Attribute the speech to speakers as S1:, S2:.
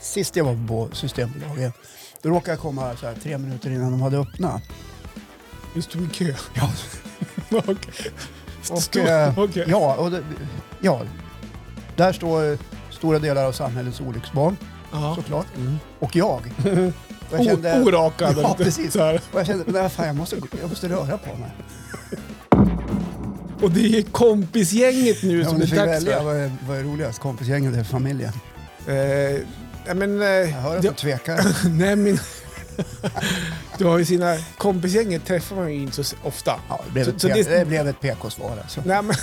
S1: sist jag var på Systembolaget, då råkade jag komma så här, tre minuter innan de hade öppnat.
S2: Du stod i kö.
S1: Ja,
S2: Okej.
S1: och,
S2: Stod-
S1: eh,
S2: okej.
S1: ja, och det, ja, där står stora delar av samhällets olycksbarn
S2: Ja.
S1: såklart.
S2: Mm.
S1: Och jag. Och jag
S2: O- Orakad.
S1: Ja,
S2: lite
S1: precis.
S2: Så här.
S1: Och jag kände, nej fan jag måste, gå- jag måste röra på mig.
S2: Och det är kompisgänget nu
S1: Ja,
S2: som
S1: om
S2: det
S1: du
S2: är
S1: fick
S2: dags
S1: välja,
S2: för.
S1: vad är, vad är roligast? Kompisgänget eller familjen?
S2: Eh, nej, men, eh,
S1: Jag hör att
S2: det-
S1: du tvekar.
S2: Nej men... Du har ju sina... Kompisgänget träffar man ju inte så ofta.
S1: Ja, det blev
S2: Så-
S1: ett,
S2: så
S1: P-
S2: det-
S1: det... blev ett PK-svar alltså.
S2: Nej men...